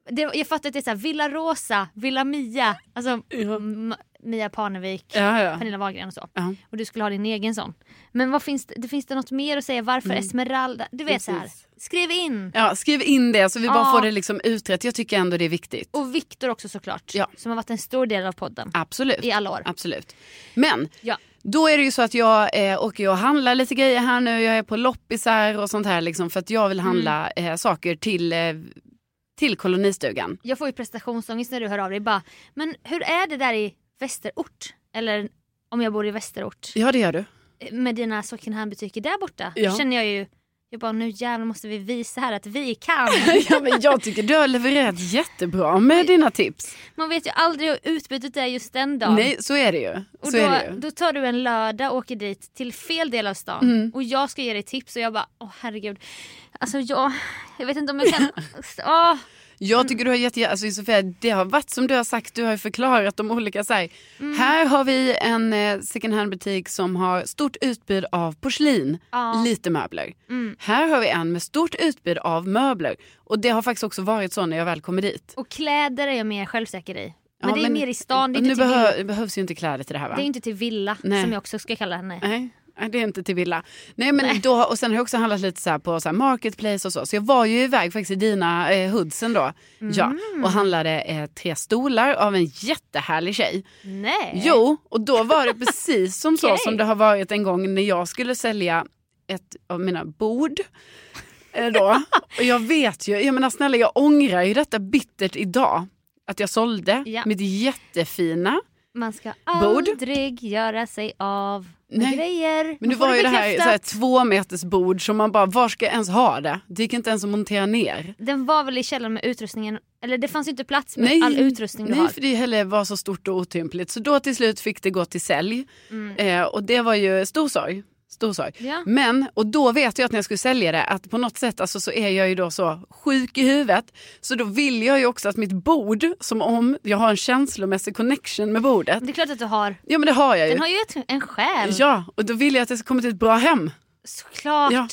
Speaker 4: Det, jag fattar att det är så här, Villa Rosa, Villa Mia, alltså
Speaker 3: Ja.
Speaker 4: M- Mia Parnevik,
Speaker 3: Ja, ja.
Speaker 4: Pernilla Wahlgren och så.
Speaker 3: Ja.
Speaker 4: Och du skulle ha din egen sån. Men vad finns det, det- finns det något mer att säga? Varför Esmeralda? Du vet så här.
Speaker 3: Mm. Precis.
Speaker 4: skriv in.
Speaker 3: ja skriv in det så vi bara
Speaker 4: Ja.
Speaker 3: får det liksom utrett. Jag tycker ändå det är viktigt.
Speaker 4: Och Viktor också såklart,
Speaker 3: Ja.
Speaker 4: som har varit en stor del av podden.
Speaker 3: Absolut.
Speaker 4: I alla år.
Speaker 3: Absolut. Men
Speaker 4: Ja.
Speaker 3: då är det ju så att jag eh, åker ju och handlar lite grejer här nu. Jag är på loppisar och sånt här liksom, för att jag vill handla eh, saker till, eh, till kolonistugan.
Speaker 4: Jag får ju prestationsångest när du hör av dig bara, men hur är det där i västerort? Eller om jag bor i västerort
Speaker 3: Ja det gör du.
Speaker 4: med dina second hand-butiker där borta.
Speaker 3: Ja.
Speaker 4: Då känner jag ju, jag bara nu jävlar måste vi visa här att vi kan.
Speaker 3: ja, men jag tycker du har levererat jättebra med dina tips.
Speaker 4: Man vet ju aldrig hur utbytet är just den dagen.
Speaker 3: Nej så är det ju.
Speaker 4: Och
Speaker 3: så
Speaker 4: då,
Speaker 3: är det ju.
Speaker 4: då tar du en lördag och åker dit till fel del av stan
Speaker 3: Mm.
Speaker 4: och jag ska ge dig tips och jag bara åh herregud. Alltså jag, jag vet inte om jag kan. Åh, Mm.
Speaker 3: Jag tycker du har jätte... Alltså Sofia, det har varit som du har sagt, du har ju förklarat de olika så här.
Speaker 4: Mm.
Speaker 3: Här har vi en eh, second hand butik som har stort utbud av porslin, lite möbler.
Speaker 4: Mm.
Speaker 3: Här har vi en med stort utbud av möbler. Och det har faktiskt också varit så när jag väl kommer dit.
Speaker 4: och kläder är jag mer självsäker i. Men
Speaker 3: Ja,
Speaker 4: det är mer i stan, det är,
Speaker 3: nu
Speaker 4: inte till,
Speaker 3: behö-
Speaker 4: vill-
Speaker 3: behövs ju inte kläder till det här va?
Speaker 4: det är inte till villa
Speaker 3: Nej.
Speaker 4: som jag också ska kalla henne.
Speaker 3: Nej. nej, det är inte till villa. Nej, men Då, har- och sen har jag också handlat lite så här på så här marketplace och så. Så jag var ju iväg faktiskt i dina eh, hoodsen då. Ja,
Speaker 4: Mm.
Speaker 3: och handlade eh, tre stolar av en jättehärlig tjej.
Speaker 4: Nej.
Speaker 3: Jo, och då var det precis som så
Speaker 4: Eh. Okej.
Speaker 3: som det har varit en gång när jag skulle sälja ett av mina bord. Eh, Då. Och jag vet ju, jag menar snälla jag ångrar ju detta bittert idag. Att jag sålde
Speaker 4: Ja.
Speaker 3: mitt jättefina
Speaker 4: Man ska
Speaker 3: Bord.
Speaker 4: aldrig göra sig av med
Speaker 3: Nej.
Speaker 4: grejer.
Speaker 3: Men
Speaker 4: Man
Speaker 3: nu
Speaker 4: får
Speaker 3: var ju det här, så
Speaker 4: bekräftat.
Speaker 3: här två meters bord som man bara, var ska jag ens ha det? Det gick inte ens att montera ner.
Speaker 4: Den var väl i källaren med utrustningen, eller det fanns ju inte plats med
Speaker 3: Nej,
Speaker 4: all utrustning du
Speaker 3: nej
Speaker 4: har.
Speaker 3: för det heller var så stort och otympligt. Så då till slut fick det gå till sälj. Eh, och det var ju stor sorg. Stor sorg.
Speaker 4: Mm. Ja.
Speaker 3: Men, och då vet jag att när jag skulle sälja det att på något sätt alltså, så är jag ju då så sjuk i huvudet. Så då vill jag ju också att mitt bord, som om jag har en känslomässig connection med bordet.
Speaker 4: Det är klart att du har.
Speaker 3: Ja men det har jag ju.
Speaker 4: Den har ju ett, en själ.
Speaker 3: Ja, och då vill jag att det ska komma till ett bra hem.
Speaker 4: Såklart.
Speaker 3: Ja.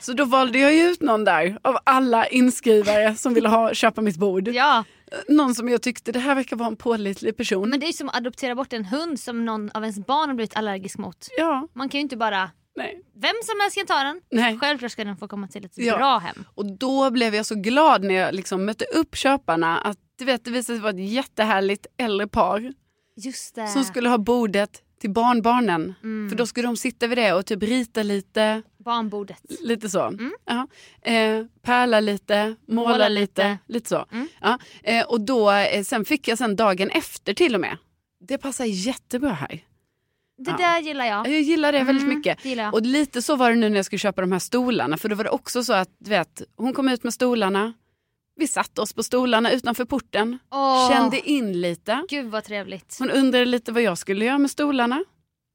Speaker 3: Så då valde jag ju ut någon där av alla inskrivare som ville ha, köpa mitt bord.
Speaker 4: Ja,
Speaker 3: Någon som jag tyckte det här verkar vara en pålitlig person.
Speaker 4: men det är ju som att adoptera bort en hund som någon av ens barn har blivit allergisk mot.
Speaker 3: Ja,
Speaker 4: Man kan ju inte bara,
Speaker 3: nej.
Speaker 4: vem som helst kan ta den.
Speaker 3: nej.
Speaker 4: Självklart ska den få komma till ett
Speaker 3: Ja.
Speaker 4: bra hem.
Speaker 3: Och då blev jag så glad när jag liksom mötte upp köparna att du vet, det visade sig vara ett jättehärligt äldre par
Speaker 4: Just det. Mm.
Speaker 3: som skulle ha bordet till barnbarnen. För då skulle de sitta vid det och typ rita lite,
Speaker 4: Barnbordet.
Speaker 3: lite så. Ja. Eh, pärla lite, måla,
Speaker 4: Mm. Måla
Speaker 3: lite,
Speaker 4: lite. Mm.
Speaker 3: lite, så. Ja. Eh, och då, eh, sen fick jag sen dagen efter till och med. Det passar jättebra här.
Speaker 4: Det
Speaker 3: Ja.
Speaker 4: där gillar jag.
Speaker 3: Jag gillar det väldigt
Speaker 4: Mm,
Speaker 3: mycket.
Speaker 4: det gillar jag.
Speaker 3: Och lite så var det nu när jag skulle köpa de här stolarna. För då var det också så att du vet, hon kom ut med stolarna. Vi satte oss på stolarna utanför porten.
Speaker 4: Åh,
Speaker 3: Kände in lite.
Speaker 4: Gud vad trevligt.
Speaker 3: Hon undrade lite vad jag skulle göra med stolarna.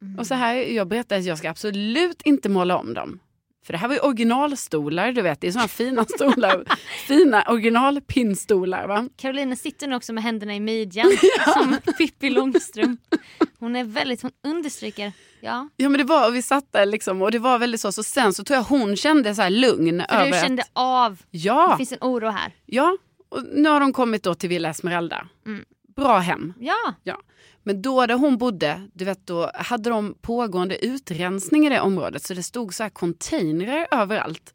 Speaker 4: Mm.
Speaker 3: Och så här, jag berättade att jag ska absolut inte måla om dem. För det här var ju originalstolar, du vet. Det är såna fina stolar. fina originalpinnstolar va.
Speaker 4: Carolina sitter nu också med händerna i midjan som Pippi Långstrump. Hon är väldigt, hon understryker. Ja,
Speaker 3: Ja men det var, och vi satt där liksom och det var väldigt så. Så sen så tror jag hon kände så här lugn
Speaker 4: för
Speaker 3: över
Speaker 4: du
Speaker 3: att-
Speaker 4: kände av. Det
Speaker 3: Ja.
Speaker 4: finns en oro här.
Speaker 3: Ja, och nu har de kommit då till Villa Esmeralda.
Speaker 4: Mm.
Speaker 3: Bra hem.
Speaker 4: Ja,
Speaker 3: Ja. Men då där hon bodde, du vet då hade de pågående utrensning i det området så det stod så här containrar överallt.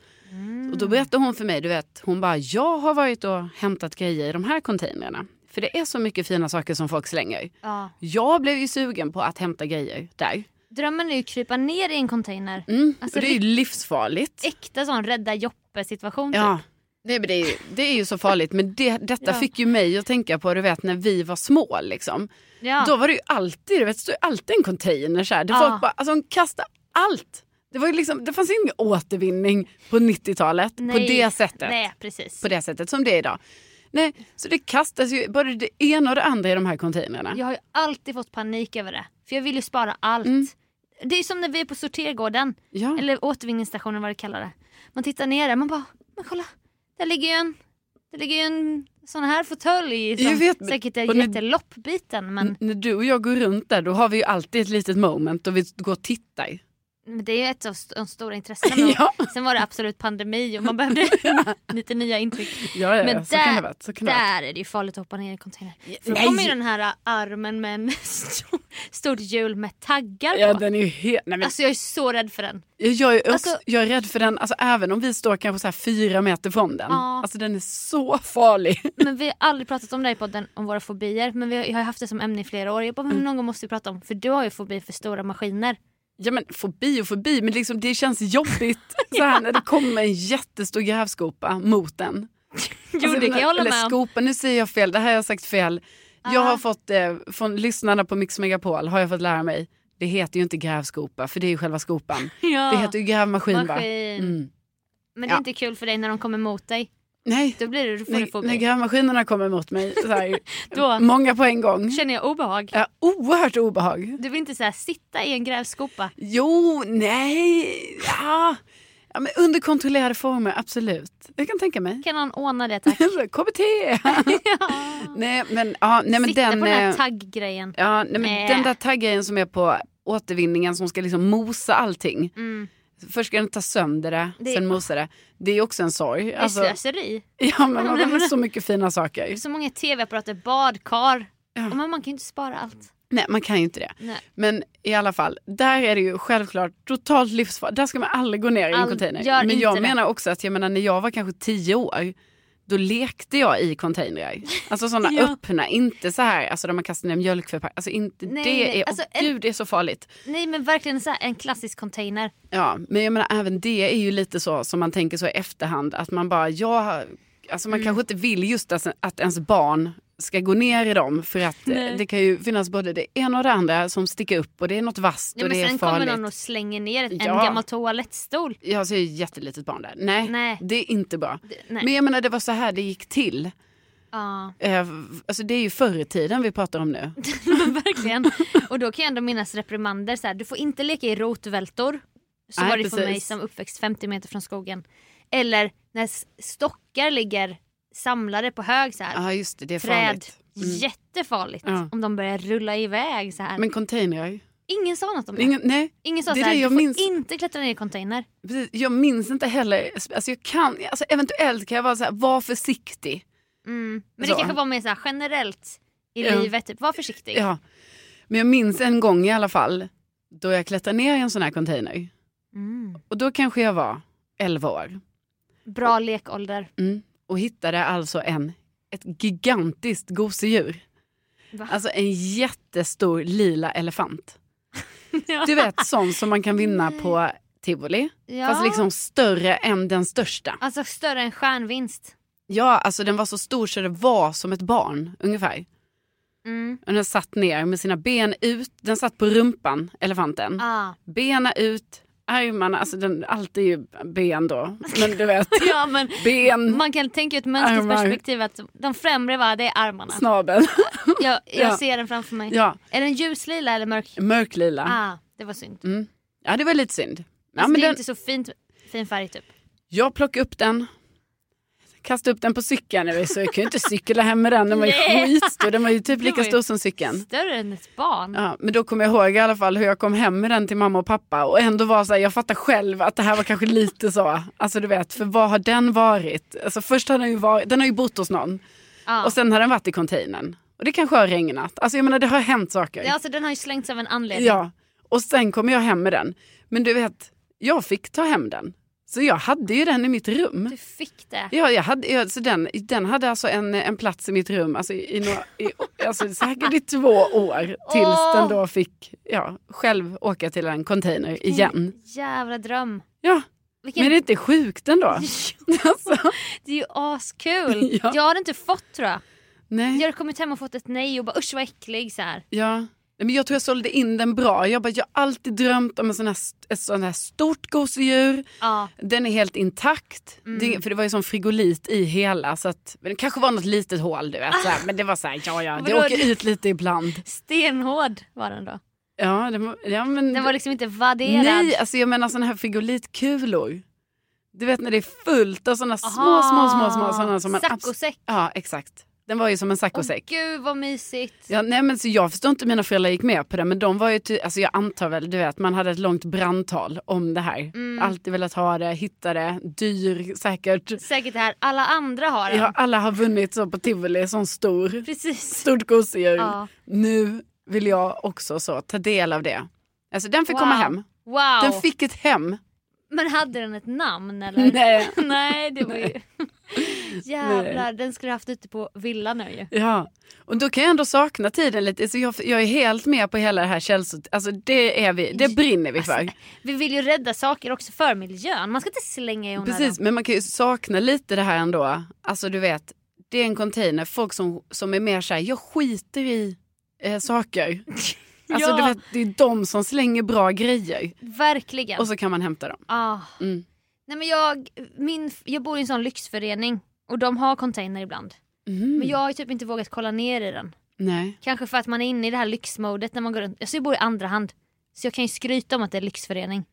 Speaker 3: Och då berättade hon för mig, du vet, hon bara jag har varit och hämtat grejer i de här containrarna. För det är så mycket fina saker som folk slänger.
Speaker 4: ja.
Speaker 3: Jag blev ju sugen på att hämta grejer där.
Speaker 4: Drömmen är ju att krypa ner i en container.
Speaker 3: Mm.
Speaker 4: Alltså,
Speaker 3: och det är ju livsfarligt.
Speaker 4: Äkta sån rädda Joppe situation.
Speaker 3: Ja. Nej, men det, är ju, det är ju så farligt, men det, detta
Speaker 4: Ja.
Speaker 3: fick ju mig att tänka på du vet, när vi var små. Liksom.
Speaker 4: typ. Ja.
Speaker 3: Då var det ju alltid, du vet, det stod ju alltid en container. Så här. Det
Speaker 4: Ja.
Speaker 3: folk bara, alltså, de kastade allt. Det, var ju liksom, det fanns ingen återvinning på 90-talet på
Speaker 4: Nej.
Speaker 3: det, sättet,
Speaker 4: Nej, precis.
Speaker 3: på det sättet som det är idag. Nej, så det kastas ju både det ena och det andra i de här containrarna.
Speaker 4: Jag har ju alltid fått panik över det. För jag vill ju spara allt.
Speaker 3: Mm.
Speaker 4: Det är ju som när vi är på sortergården.
Speaker 3: Ja.
Speaker 4: Eller återvinningsstationen vad det kallar det. Man tittar ner där man bara, men kolla. Där ligger ju en, där ligger ju en sån här fåtölj. Som
Speaker 3: Jag vet, men- Mm.
Speaker 4: säkert är
Speaker 3: och nu-
Speaker 4: jätteloppbiten. Men,
Speaker 3: N- När du och jag går runt där då har vi ju alltid ett litet moment då vi går och tittar.
Speaker 4: men det är ju ett av st- de stora intressena. med-
Speaker 3: Ja.
Speaker 4: Sen var det absolut pandemi och man behövde lite nya intryck.
Speaker 3: Ja, ja,
Speaker 4: Men
Speaker 3: ja, så kan
Speaker 4: där-
Speaker 3: det vara. Så kan det vara.
Speaker 4: Där är det ju farligt att hoppa ner i en container. För då
Speaker 3: nej.
Speaker 4: kommer ju den här ä, armen med en stor, stort hjul med taggar på.
Speaker 3: Ja, den är ju helt... Nej, men
Speaker 4: Alltså jag är så rädd för den.
Speaker 3: Jag, jag, är också,
Speaker 4: Alltså-
Speaker 3: jag är rädd för den, alltså, även om vi står kanske så här fyra meter från den.
Speaker 4: Ja.
Speaker 3: Alltså den är så farlig.
Speaker 4: Men vi har aldrig pratat om det här i podden, om våra fobier. Men vi har, jag har haft det som ämne i flera år. Jag bara,
Speaker 3: Mm.
Speaker 4: men någon gång måste vi prata om. För du har ju fobi för stora maskiner.
Speaker 3: Ja men fobi och fobi, men liksom, det känns jobbigt så här, när det kommer en jättestor grävskopa mot den.
Speaker 4: Jo
Speaker 3: Alltså,
Speaker 4: det kan jag hålla
Speaker 3: eller
Speaker 4: med om.
Speaker 3: skopa, nu säger jag fel, det här har jag sagt fel. Jag
Speaker 4: Ah.
Speaker 3: har fått, eh, från lyssnarna på Mix Megapol har jag fått lära mig, det heter ju inte grävskopa för det är ju själva skopan.
Speaker 4: Ja.
Speaker 3: Det heter ju grävmaskin va?
Speaker 4: Maskin.
Speaker 3: Mm.
Speaker 4: Men det är
Speaker 3: Ja.
Speaker 4: inte kul för dig när de kommer mot dig.
Speaker 3: Nej,
Speaker 4: Då blir det, då får du
Speaker 3: när, när
Speaker 4: fobi.
Speaker 3: grävmaskinerna kommer mot mig, så här,
Speaker 4: Då-
Speaker 3: många på en gång.
Speaker 4: känner jag obehag.
Speaker 3: Mm. Ja, oerhört obehag.
Speaker 4: Du vill inte så här, sitta i en grävskopa.
Speaker 3: Jo, nej, ja. ja men under kontrollerade former, absolut. Jag kan tänka mig.
Speaker 4: Kan någon ordna det tack?
Speaker 3: KBT! nej, men, ja, nej, men
Speaker 4: sitta
Speaker 3: den,
Speaker 4: på den här
Speaker 3: eh,
Speaker 4: tagggrejen.
Speaker 3: ja, nej, men
Speaker 4: Nej.
Speaker 3: den där taggen som är på återvinningen som ska liksom mosa allting.
Speaker 4: Mm.
Speaker 3: Först ska den ta sönder det,
Speaker 4: Det-
Speaker 3: sen mosa det. Det är också en sorg. Alltså,
Speaker 4: Det är slöseri.
Speaker 3: ja, men man har så mycket fina saker.
Speaker 4: Så många tv-apparater, badkar.
Speaker 3: Ja.
Speaker 4: Och Men man kan ju inte spara allt.
Speaker 3: Nej, man kan ju inte det.
Speaker 4: Nej.
Speaker 3: Men i alla fall, där är det ju självklart totalt livsfarligt. Där ska man aldrig gå ner i en
Speaker 4: Ald-
Speaker 3: container.
Speaker 4: gör
Speaker 3: Men
Speaker 4: inte
Speaker 3: jag
Speaker 4: det.
Speaker 3: menar också att jag menar, när jag var kanske tio år, då lekte jag i containrar. Alltså sådana
Speaker 4: Ja.
Speaker 3: öppna, inte så här alltså, där man kastar ner mjölkförpackningar. Alltså inte
Speaker 4: Nej,
Speaker 3: det
Speaker 4: nej.
Speaker 3: är,
Speaker 4: Alltså,
Speaker 3: åh, gud det är så farligt.
Speaker 4: Nej men verkligen så här, en klassisk container.
Speaker 3: Ja, men jag menar även det är ju lite så som man
Speaker 4: Mm.
Speaker 3: tänker så i efterhand att man bara, jag, alltså man kanske inte vill just att, att ens barn ska gå ner i dem för att eh,
Speaker 4: Nej.
Speaker 3: det kan ju finnas både det ena och det andra som sticker upp och det är något vasst
Speaker 4: Ja,
Speaker 3: och
Speaker 4: men
Speaker 3: det är
Speaker 4: sen kommer någon
Speaker 3: farligt.
Speaker 4: och slänger ner ett- en
Speaker 3: Ja.
Speaker 4: gammal toalettstol.
Speaker 3: Jag ser ju ett jättelitet barn där. Nej,
Speaker 4: Nej.
Speaker 3: det är inte bra.
Speaker 4: Det- nej.
Speaker 3: Men jag menar det var så här det gick till.
Speaker 4: Ja,
Speaker 3: Eh, alltså det är ju förr i tiden vi pratar om nu.
Speaker 4: verkligen. Och då kan jag ändå minnas reprimander. Så här, du får inte leka i rotvältor. Så
Speaker 3: Nej,
Speaker 4: var det för
Speaker 3: precis.
Speaker 4: mig som uppväxt 50 meter från skogen. Eller när s- stockar ligger samlade på hög så här.
Speaker 3: Ja just det, det är
Speaker 4: Träd.
Speaker 3: farligt. Mm.
Speaker 4: Jättefarligt
Speaker 3: Ja.
Speaker 4: om de börjar rulla iväg så här.
Speaker 3: Men containrar?
Speaker 4: Ingen sa något om det.
Speaker 3: Ingen, nej,
Speaker 4: Ingen sa
Speaker 3: det är
Speaker 4: så här,
Speaker 3: det jag
Speaker 4: du får
Speaker 3: minns.
Speaker 4: inte klättra ner i container.
Speaker 3: precis. Jag minns inte heller. Alltså jag kan, alltså eventuellt kan jag vara så här, var försiktig.
Speaker 4: Mm. Men
Speaker 3: Så.
Speaker 4: det kanske var mer så här, generellt i
Speaker 3: Ja.
Speaker 4: livet, typ, var försiktig.
Speaker 3: Ja. Men jag minns en gång i alla fall då jag klättrade ner i en sån här container.
Speaker 4: Mm.
Speaker 3: Och då kanske jag var 11 år
Speaker 4: Bra lekålder.
Speaker 3: mm. och hittade alltså en, ett gigantiskt gosedjur.
Speaker 4: Va?
Speaker 3: Alltså en jättestor lila elefant.
Speaker 4: Ja.
Speaker 3: Du vet sån som man kan vinna på tivoli.
Speaker 4: Ja.
Speaker 3: Fast liksom större än den största.
Speaker 4: Alltså större än stjärnvinst.
Speaker 3: Ja, alltså den var så stor så det var som ett barn ungefär.
Speaker 4: Mm.
Speaker 3: Och den satt ner med sina ben ut, den satt på rumpan, elefanten.
Speaker 4: Ah.
Speaker 3: Bena ut, armarna, alltså den, allt är ju ben då. Men du vet,
Speaker 4: Ja, men
Speaker 3: ben,
Speaker 4: man kan tänka ut mönstersperspektiv att de främre va, det är armarna.
Speaker 3: snabeln.
Speaker 4: Jag, jag
Speaker 3: Ja.
Speaker 4: ser den framför mig.
Speaker 3: ja,
Speaker 4: Är den ljuslila eller mörk?
Speaker 3: mörklila.
Speaker 4: Ah, det var synd.
Speaker 3: Ja, det var lite synd. Ja,
Speaker 4: alltså,
Speaker 3: men
Speaker 4: det är
Speaker 3: den,
Speaker 4: inte så fint, fin färg typ.
Speaker 3: Jag plockade upp den. Kastade upp den på cykeln. Jag, så jag kunde ju inte cykla hem med den. Den var ju
Speaker 4: Nej.
Speaker 3: skitstor. Den var ju typ
Speaker 4: Det var
Speaker 3: lika
Speaker 4: ju-
Speaker 3: stor som cykeln.
Speaker 4: Större än ett barn.
Speaker 3: Ja, men då kommer jag ihåg i alla fall hur jag kom hem med den till mamma och pappa och ändå var så här, jag fattar själv att det här var kanske lite så, alltså du vet, för vad har den varit? Alltså först har den ju varit, den har ju bott hos någon
Speaker 4: Ja.
Speaker 3: och sen har den varit i containern och det kanske har regnat, alltså jag menar det har hänt saker.
Speaker 4: Ja, alltså, den har ju slängts av en anledning.
Speaker 3: Ja, och sen kom jag hem med den, men du vet, jag fick ta hem den, så jag hade ju den i mitt rum.
Speaker 4: Du fick det.
Speaker 3: Ja, jag hade, jag, så den, den hade alltså en, en plats i mitt rum alltså, i, i, några- i, alltså, säkert i två år tills
Speaker 4: Åh!
Speaker 3: den då fick ja, själv åka till en container igen.
Speaker 4: Jävla dröm.
Speaker 3: Ja,
Speaker 4: Vilken...
Speaker 3: men det är inte sjukt ändå. alltså,
Speaker 4: Det är ju askul.
Speaker 3: Ja.
Speaker 4: Jag hade inte fått tror jag. Jag
Speaker 3: nej,
Speaker 4: hade kommit hem och fått ett nej och bara usch vad äcklig så här.
Speaker 3: ja. Nej, Men jag tror jag sålde in den bra. Jag, bara, jag har alltid drömt om en sån här, st- ett sån här stort gosedjur.
Speaker 4: Ja.
Speaker 3: Den är helt intakt.
Speaker 4: Mm.
Speaker 3: Det, för det var ju som frigolit i hela. Så att, men det kanske var något litet hål du vet. Så här, men det var så här, ja ja, det
Speaker 4: Vadå?
Speaker 3: åker ut lite ibland.
Speaker 4: Stenhård var den då.
Speaker 3: Ja, det, var- ja men...
Speaker 4: Den var liksom inte vadderad.
Speaker 3: Nej, alltså jag menar sådana här frigolitkulor. Du vet när det är fullt av sådana små,
Speaker 4: Aha.
Speaker 3: små, små, små sådana som man... abs-
Speaker 4: Saccosäck.
Speaker 3: Ja, exakt. Den var ju som en
Speaker 4: Åh,
Speaker 3: saccosäck.
Speaker 4: gud vad mysigt.
Speaker 3: Ja, nej men så jag förstår inte hur mina föräldrar gick med på det men de var ju, ty- alltså jag antar väl, du vet man hade ett långt brandtal om det här.
Speaker 4: Mm.
Speaker 3: Alltid velat ha det, hitta det, dyr säkert.
Speaker 4: Säkert det här, alla andra har den.
Speaker 3: Ja, alla har vunnit så på tivoli, sån stor,
Speaker 4: Precis.
Speaker 3: stort gosedjur.
Speaker 4: Ja.
Speaker 3: Nu vill jag också så ta del av det. Alltså den fick komma
Speaker 4: Wow.
Speaker 3: hem.
Speaker 4: Wow.
Speaker 3: Den fick ett hem.
Speaker 4: Men hade den ett namn eller?
Speaker 3: Nej.
Speaker 4: Nej det var ju... Jävlar, den skulle haft ute på villan nu ju.
Speaker 3: Ja, och då kan jag ändå sakna tiden lite. Så jag, jag är helt med på hela det här källsort. Alltså det, är vi, det brinner vi för.
Speaker 4: Vi vill ju rädda saker också för miljön. Man ska inte slänga i onödan.
Speaker 3: Precis, men man kan ju sakna lite det här ändå. Alltså du vet, det är en container. Folk som, som är mer så här, jag skiter i eh, saker. Alltså
Speaker 4: Ja.
Speaker 3: du vet, det är de som slänger bra grejer.
Speaker 4: Verkligen.
Speaker 3: Och så kan man hämta dem.
Speaker 4: Ah.
Speaker 3: Mm.
Speaker 4: Nej, men jag, min, jag bor i en sån lyxförening och de har container ibland.
Speaker 3: Mhm.
Speaker 4: Men jag har ju typ inte vågat kolla ner i den.
Speaker 3: Nej.
Speaker 4: Kanske för att man är inne i det här lyxmodet när man går runt. Alltså jag bor i andra hand. Så jag kan ju skryta om att det är lyxförening.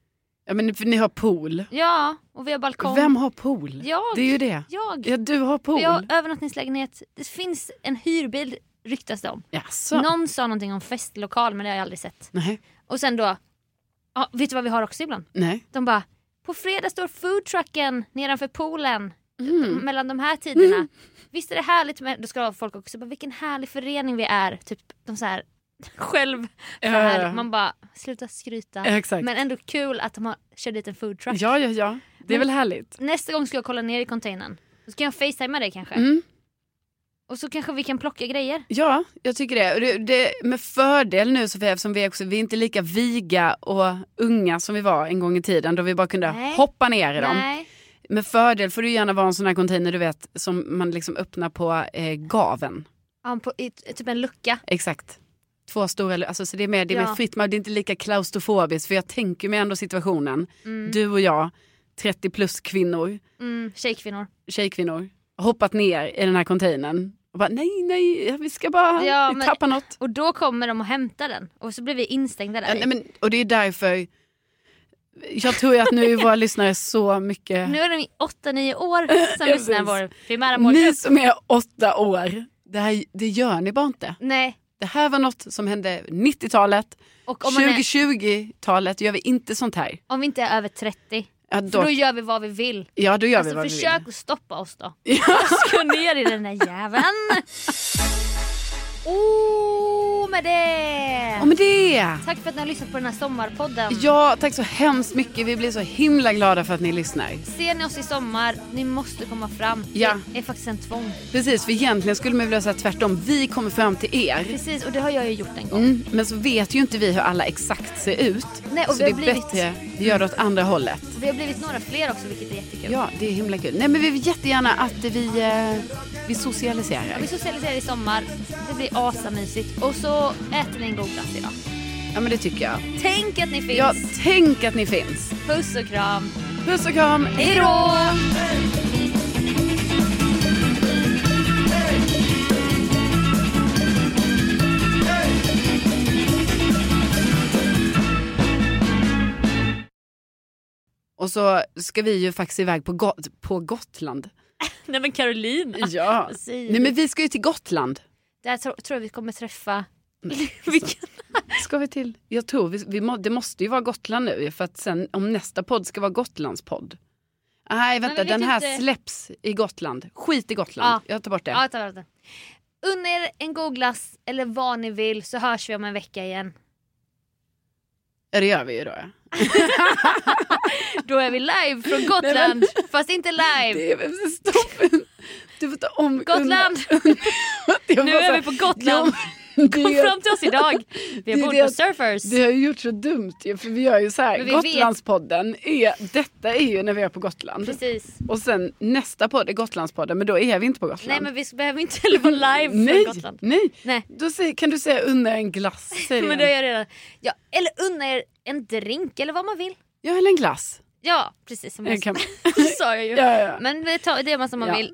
Speaker 3: Ja men för ni har pool.
Speaker 4: Ja, och vi har balkong.
Speaker 3: Vem har pool?
Speaker 4: Jag.
Speaker 3: Det är ju det.
Speaker 4: Jag.
Speaker 3: Ja, du har pool.
Speaker 4: Vi har övernattningslägenhet. Det finns en hyrbil ryktas det om.
Speaker 3: Jaså?
Speaker 4: Någon sa någonting om festlokal men det har jag aldrig sett.
Speaker 3: Nej.
Speaker 4: Och sen då, ja, vet du vad vi har också ibland?
Speaker 3: Nej.
Speaker 4: De bara, på fredag står foodtrucken nedanför poolen.
Speaker 3: Mm.
Speaker 4: Mellan de här tiderna. Visst är det härligt med, då ska folk också bara, vilken härlig förening vi är. Typ de så här, själv. Så
Speaker 3: Ja,
Speaker 4: här.
Speaker 3: ja, ja.
Speaker 4: Man bara, sluta skryta.
Speaker 3: Ja, exakt.
Speaker 4: Men ändå kul att de har, kör dit en foodtruck.
Speaker 3: Ja, ja, ja. Det är väl härligt.
Speaker 4: Nästa gång ska jag kolla ner i containern. Så kan jag facetima dig kanske.
Speaker 3: Mm.
Speaker 4: Och så kanske vi kan plocka grejer.
Speaker 3: Ja, jag tycker det. Och det, det med fördel nu Sofia, eftersom vi, också, vi är inte lika viga och unga som vi var en gång i tiden då vi bara kunde
Speaker 4: Nej.
Speaker 3: hoppa ner i dem.
Speaker 4: Nej.
Speaker 3: Med fördel får du gärna vara en sån här container du vet som man liksom öppnar på eh, gaven.
Speaker 4: Ja, på, i, typ en lucka.
Speaker 3: Exakt. Två stora, lu- alltså, så det är mer, det är
Speaker 4: Ja.
Speaker 3: mer fritt, men det är inte lika klaustrofobiskt för jag tänker mig ändå situationen, du och jag, 30 plus kvinnor,
Speaker 4: Mm, tjejkvinnor.
Speaker 3: tjejkvinnor, hoppat ner i den här containern och bara nej, nej, vi ska bara
Speaker 4: Ja,
Speaker 3: vi
Speaker 4: men-
Speaker 3: tappa något.
Speaker 4: Och då kommer de och hämtar den och så blir vi instängda där.
Speaker 3: Ja, nej, men, och det är därför, jag tror ju att nu är våra lyssnare så mycket,
Speaker 4: Nu är de 8-9 år som
Speaker 3: Precis.
Speaker 4: lyssnar på vår primära
Speaker 3: ni
Speaker 4: målgrupp.
Speaker 3: som är åtta år, det, här, det gör ni bara inte.
Speaker 4: Nej.
Speaker 3: Det här var något som hände 90-talet,
Speaker 4: Och om, man är,
Speaker 3: 2020-talet gör vi inte sånt här.
Speaker 4: om vi inte är över 30,
Speaker 3: Ja,
Speaker 4: då,
Speaker 3: då,
Speaker 4: då gör vi vad vi vill.
Speaker 3: ja, då gör vi
Speaker 4: Alltså
Speaker 3: vad vi
Speaker 4: försök
Speaker 3: vill.
Speaker 4: att stoppa oss då.
Speaker 3: Ja.
Speaker 4: Ska ner i den där jäveln. Oh, med det!
Speaker 3: Och med det!
Speaker 4: Tack för att ni har lyssnat på den här sommarpodden.
Speaker 3: Ja, tack så hemskt mycket. Vi blir så himla glada för att ni lyssnar.
Speaker 4: Ser ni oss i sommar, ni måste komma fram.
Speaker 3: Ja.
Speaker 4: Det är faktiskt en tvång.
Speaker 3: Precis, för egentligen skulle man vilja säga tvärtom. Vi kommer fram till er.
Speaker 4: Precis, och det har jag ju gjort en gång.
Speaker 3: Mm, men så vet ju inte vi hur alla exakt ser ut.
Speaker 4: Nej, och
Speaker 3: så
Speaker 4: vi
Speaker 3: det
Speaker 4: har
Speaker 3: är
Speaker 4: blivit-
Speaker 3: bättre vi gör det åt andra hållet.
Speaker 4: Vi har blivit några fler också vilket är jättekul.
Speaker 3: Ja, det är himla kul. Nej, men vi vill jättegärna att vi, eh, vi socialiserar.
Speaker 4: Vi socialiserar i sommar, det blir asamysigt. Och så äter ni en god glass idag.
Speaker 3: Ja, men det tycker jag.
Speaker 4: Tänk att ni finns!
Speaker 3: Ja, tänk att ni finns.
Speaker 4: Puss och kram!
Speaker 3: Puss och kram.
Speaker 4: Hej då!
Speaker 3: Och så ska vi ju faktiskt iväg på, Got- på Gotland.
Speaker 4: Nej men Carolina!
Speaker 3: Ja.
Speaker 4: Säg.
Speaker 3: Nej, men vi ska ju till Gotland.
Speaker 4: Där tro, tror jag vi kommer träffa...
Speaker 3: Mm. ska vi till? Jag tror vi, vi må, det måste ju vara Gotland nu för att sen om nästa podd ska vara Gotlands podd. Nej vänta
Speaker 4: vi vet
Speaker 3: den här
Speaker 4: inte.
Speaker 3: släpps i Gotland. Skit i Gotland. Jag tar bort det.
Speaker 4: typ Ja, ta bort den. Unna er en god glass eller vad ni vill så hörs vi om en vecka igen.
Speaker 3: Ja, det gör vi ju då. Ja.
Speaker 4: Då är vi live från Gotland fast inte live.
Speaker 3: Det är väl stopp. Du får ta om.
Speaker 4: Gotland!
Speaker 3: Jag
Speaker 4: Nu
Speaker 3: bara så-
Speaker 4: är vi på Gotland.
Speaker 3: Jo, det
Speaker 4: Kom
Speaker 3: är-
Speaker 4: fram till oss idag. Vi
Speaker 3: är
Speaker 4: bor
Speaker 3: det-
Speaker 4: på Surfers.
Speaker 3: Det har ju gjort så dumt ju, för vi gör ju så här.
Speaker 4: Men vi
Speaker 3: Gotlandspodden är, detta är ju när vi är på Gotland.
Speaker 4: Precis.
Speaker 3: Och sen nästa podd är Gotlandspodden, men då är vi inte på Gotland.
Speaker 4: Nej men vi behöver inte heller vara live
Speaker 3: nej,
Speaker 4: från Gotland.
Speaker 3: nej.
Speaker 4: Nej.
Speaker 3: Då säger, kan du säga unna en glass? Säg det
Speaker 4: Men det
Speaker 3: igen.
Speaker 4: har jag redan. Ja, eller unna er en drink eller vad man vill.
Speaker 3: Ja, eller en glass.
Speaker 4: Ja precis som
Speaker 3: Jag
Speaker 4: jag
Speaker 3: kan-
Speaker 4: sa jag ju.
Speaker 3: Ja, ja.
Speaker 4: Men vi tar det man som man
Speaker 3: Ja.
Speaker 4: vill.